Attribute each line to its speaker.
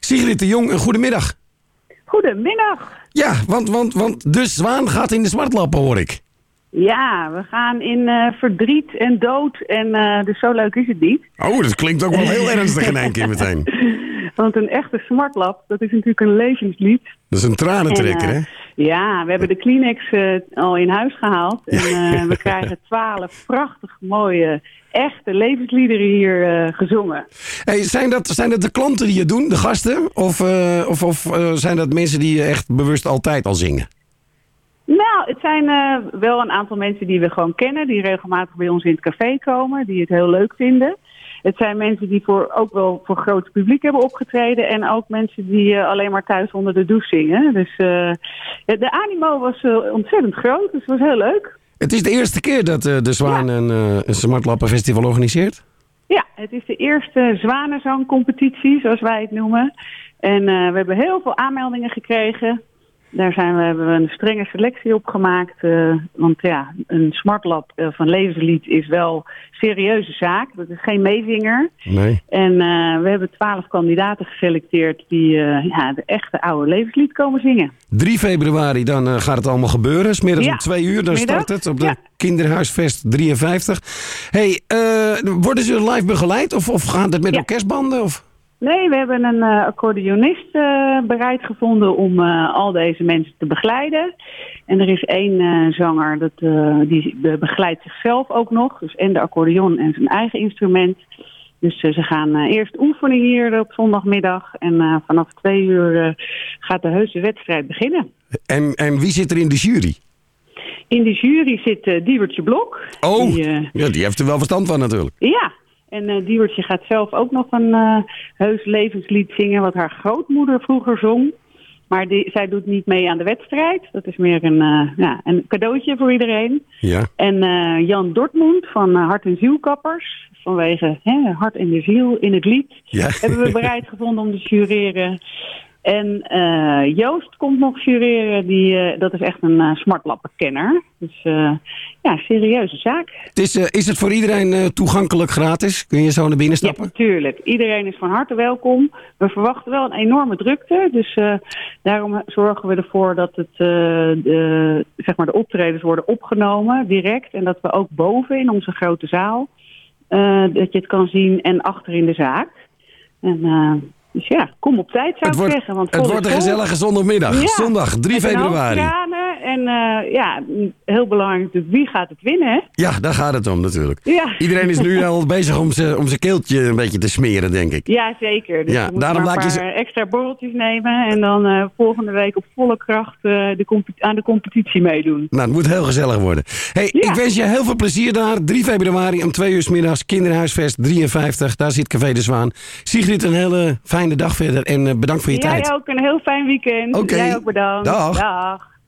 Speaker 1: Sigrid de Jong, een goedemiddag.
Speaker 2: Goedemiddag.
Speaker 1: Ja, want, want, want de zwaan gaat in de zwartlappen, hoor ik.
Speaker 2: Ja, we gaan in eh, verdriet en dood en eh, dus zo leuk is het niet.
Speaker 1: Oh, dat klinkt ook wel heel ernstig in één keer meteen.
Speaker 2: Want een echte smartlap, dat is natuurlijk een levenslied.
Speaker 1: Dat is een tranentrekker,
Speaker 2: En,
Speaker 1: hè?
Speaker 2: eh, Ja, we hebben de Kleenex eh, al in huis gehaald. En eh, we krijgen twaalf prachtig mooie, echte levensliederen hier eh, gezongen.
Speaker 1: Hey, zijn, dat, zijn dat de klanten die het doen, de gasten? Of, eh, of, of eh, zijn dat mensen die echt bewust altijd al zingen?
Speaker 2: Nou, het zijn eh, wel een aantal mensen die we gewoon kennen, die regelmatig bij ons in het café komen, die het heel leuk vinden. Het zijn mensen die voor, ook wel voor groot publiek hebben opgetreden en ook mensen die eh, alleen maar thuis onder de douche zingen. Dus eh, de animo was eh, ontzettend groot, dus het was heel leuk.
Speaker 1: Het is de eerste keer dat eh, de Zwaan een, eh een smartlappenfestival organiseert.
Speaker 2: Ja, het is de eerste zwanenzangcompetitie, zoals wij het noemen. En eh, we hebben heel veel aanmeldingen gekregen. Daar zijn we, hebben we een strenge selectie op gemaakt. eh, want ja, een smartlab eh, van levenslied is wel serieuze zaak. Dat is geen meezinger.
Speaker 1: Nee.
Speaker 2: En eh, we hebben twaalf kandidaten geselecteerd die eh, ja, de echte oude levenslied komen zingen.
Speaker 1: 3 februari, dan eh, gaat het allemaal gebeuren. Smiddags
Speaker 2: Ja,
Speaker 1: om 2 uur, dan
Speaker 2: middag.
Speaker 1: start het op de
Speaker 2: Ja.
Speaker 1: Kinderhuisfest 53. hey, eh, worden ze live begeleid of, of gaat het met
Speaker 2: Ja.
Speaker 1: orkestbanden? Of?
Speaker 2: Nee, we hebben een eh, accordeonist eh, bereid gevonden om eh, al deze mensen te begeleiden. En er is één eh, zanger, dat, eh, die be- begeleidt zichzelf ook nog. Dus en de accordeon en zijn eigen instrument. Dus eh, ze gaan eh, eerst oefenen hier op zondagmiddag. En eh, vanaf twee uur eh, gaat de heuse wedstrijd beginnen.
Speaker 1: En, en wie zit er in de jury?
Speaker 2: In de jury zit eh Diebertje Blok.
Speaker 1: Oh,
Speaker 2: Die, eh,
Speaker 1: ja, die heeft er wel verstand van natuurlijk.
Speaker 2: Ja, en eh Diewertje gaat zelf ook nog een eh, heus levenslied zingen... wat haar grootmoeder vroeger zong. Maar die, zij doet niet mee aan de wedstrijd. Dat is meer een, eh, ja, een cadeautje voor iedereen.
Speaker 1: Ja.
Speaker 2: En eh, Jan Dortmund van eh, Hart en Zielkappers... vanwege hè, Hart en de Ziel in het lied...
Speaker 1: Ja.
Speaker 2: hebben we bereid gevonden om te jureren... En eh, Joost komt nog jureren, die, eh, dat is echt een eh, smartlappenkenner. Dus eh, ja, serieuze zaak.
Speaker 1: Het is, eh, is het voor iedereen eh, toegankelijk gratis? Kun je zo naar binnen
Speaker 2: Ja,
Speaker 1: stappen?
Speaker 2: natuurlijk. Iedereen is van harte welkom. We verwachten wel een enorme drukte. Dus eh, daarom zorgen we ervoor dat het, eh, de, zeg maar de optredens worden opgenomen direct. En dat we ook boven in onze grote zaal eh, dat je het kan zien en achter in de zaak. En, eh, dus ja, kom op tijd zou
Speaker 1: Het
Speaker 2: ik
Speaker 1: wordt,
Speaker 2: zeggen. Want
Speaker 1: het
Speaker 2: vol
Speaker 1: wordt
Speaker 2: is
Speaker 1: een
Speaker 2: vol.
Speaker 1: gezellige zondagmiddag.
Speaker 2: Ja,
Speaker 1: Zondag 3
Speaker 2: Met een hoop
Speaker 1: februari.
Speaker 2: tranen En eh, ja, heel belangrijk natuurlijk, wie gaat het winnen? hè?
Speaker 1: Ja, daar gaat het om natuurlijk.
Speaker 2: Ja.
Speaker 1: Iedereen is nu al bezig om zijn om zijn keeltje een beetje te smeren, denk ik.
Speaker 2: Ja, zeker. Dus
Speaker 1: Ja,
Speaker 2: je moet
Speaker 1: daarom
Speaker 2: maar een
Speaker 1: laat ik je
Speaker 2: paar eh, extra borreltjes nemen en dan eh, volgende week op volle kracht eh, de compe- aan de competitie meedoen.
Speaker 1: Nou, het moet heel gezellig worden. Hey,
Speaker 2: Ja.
Speaker 1: Ik wens je heel veel plezier daar. 3 februari om 2 uur 's middags, Kinderhuisfest 53. Daar zit Café de Zwaan. Sigrid, een hele fijne dag verder en eh, bedankt voor je
Speaker 2: Jij
Speaker 1: tijd.
Speaker 2: ook een heel fijn weekend.
Speaker 1: Oké.
Speaker 2: Jij ook bedankt.
Speaker 1: Dag.
Speaker 2: Dag.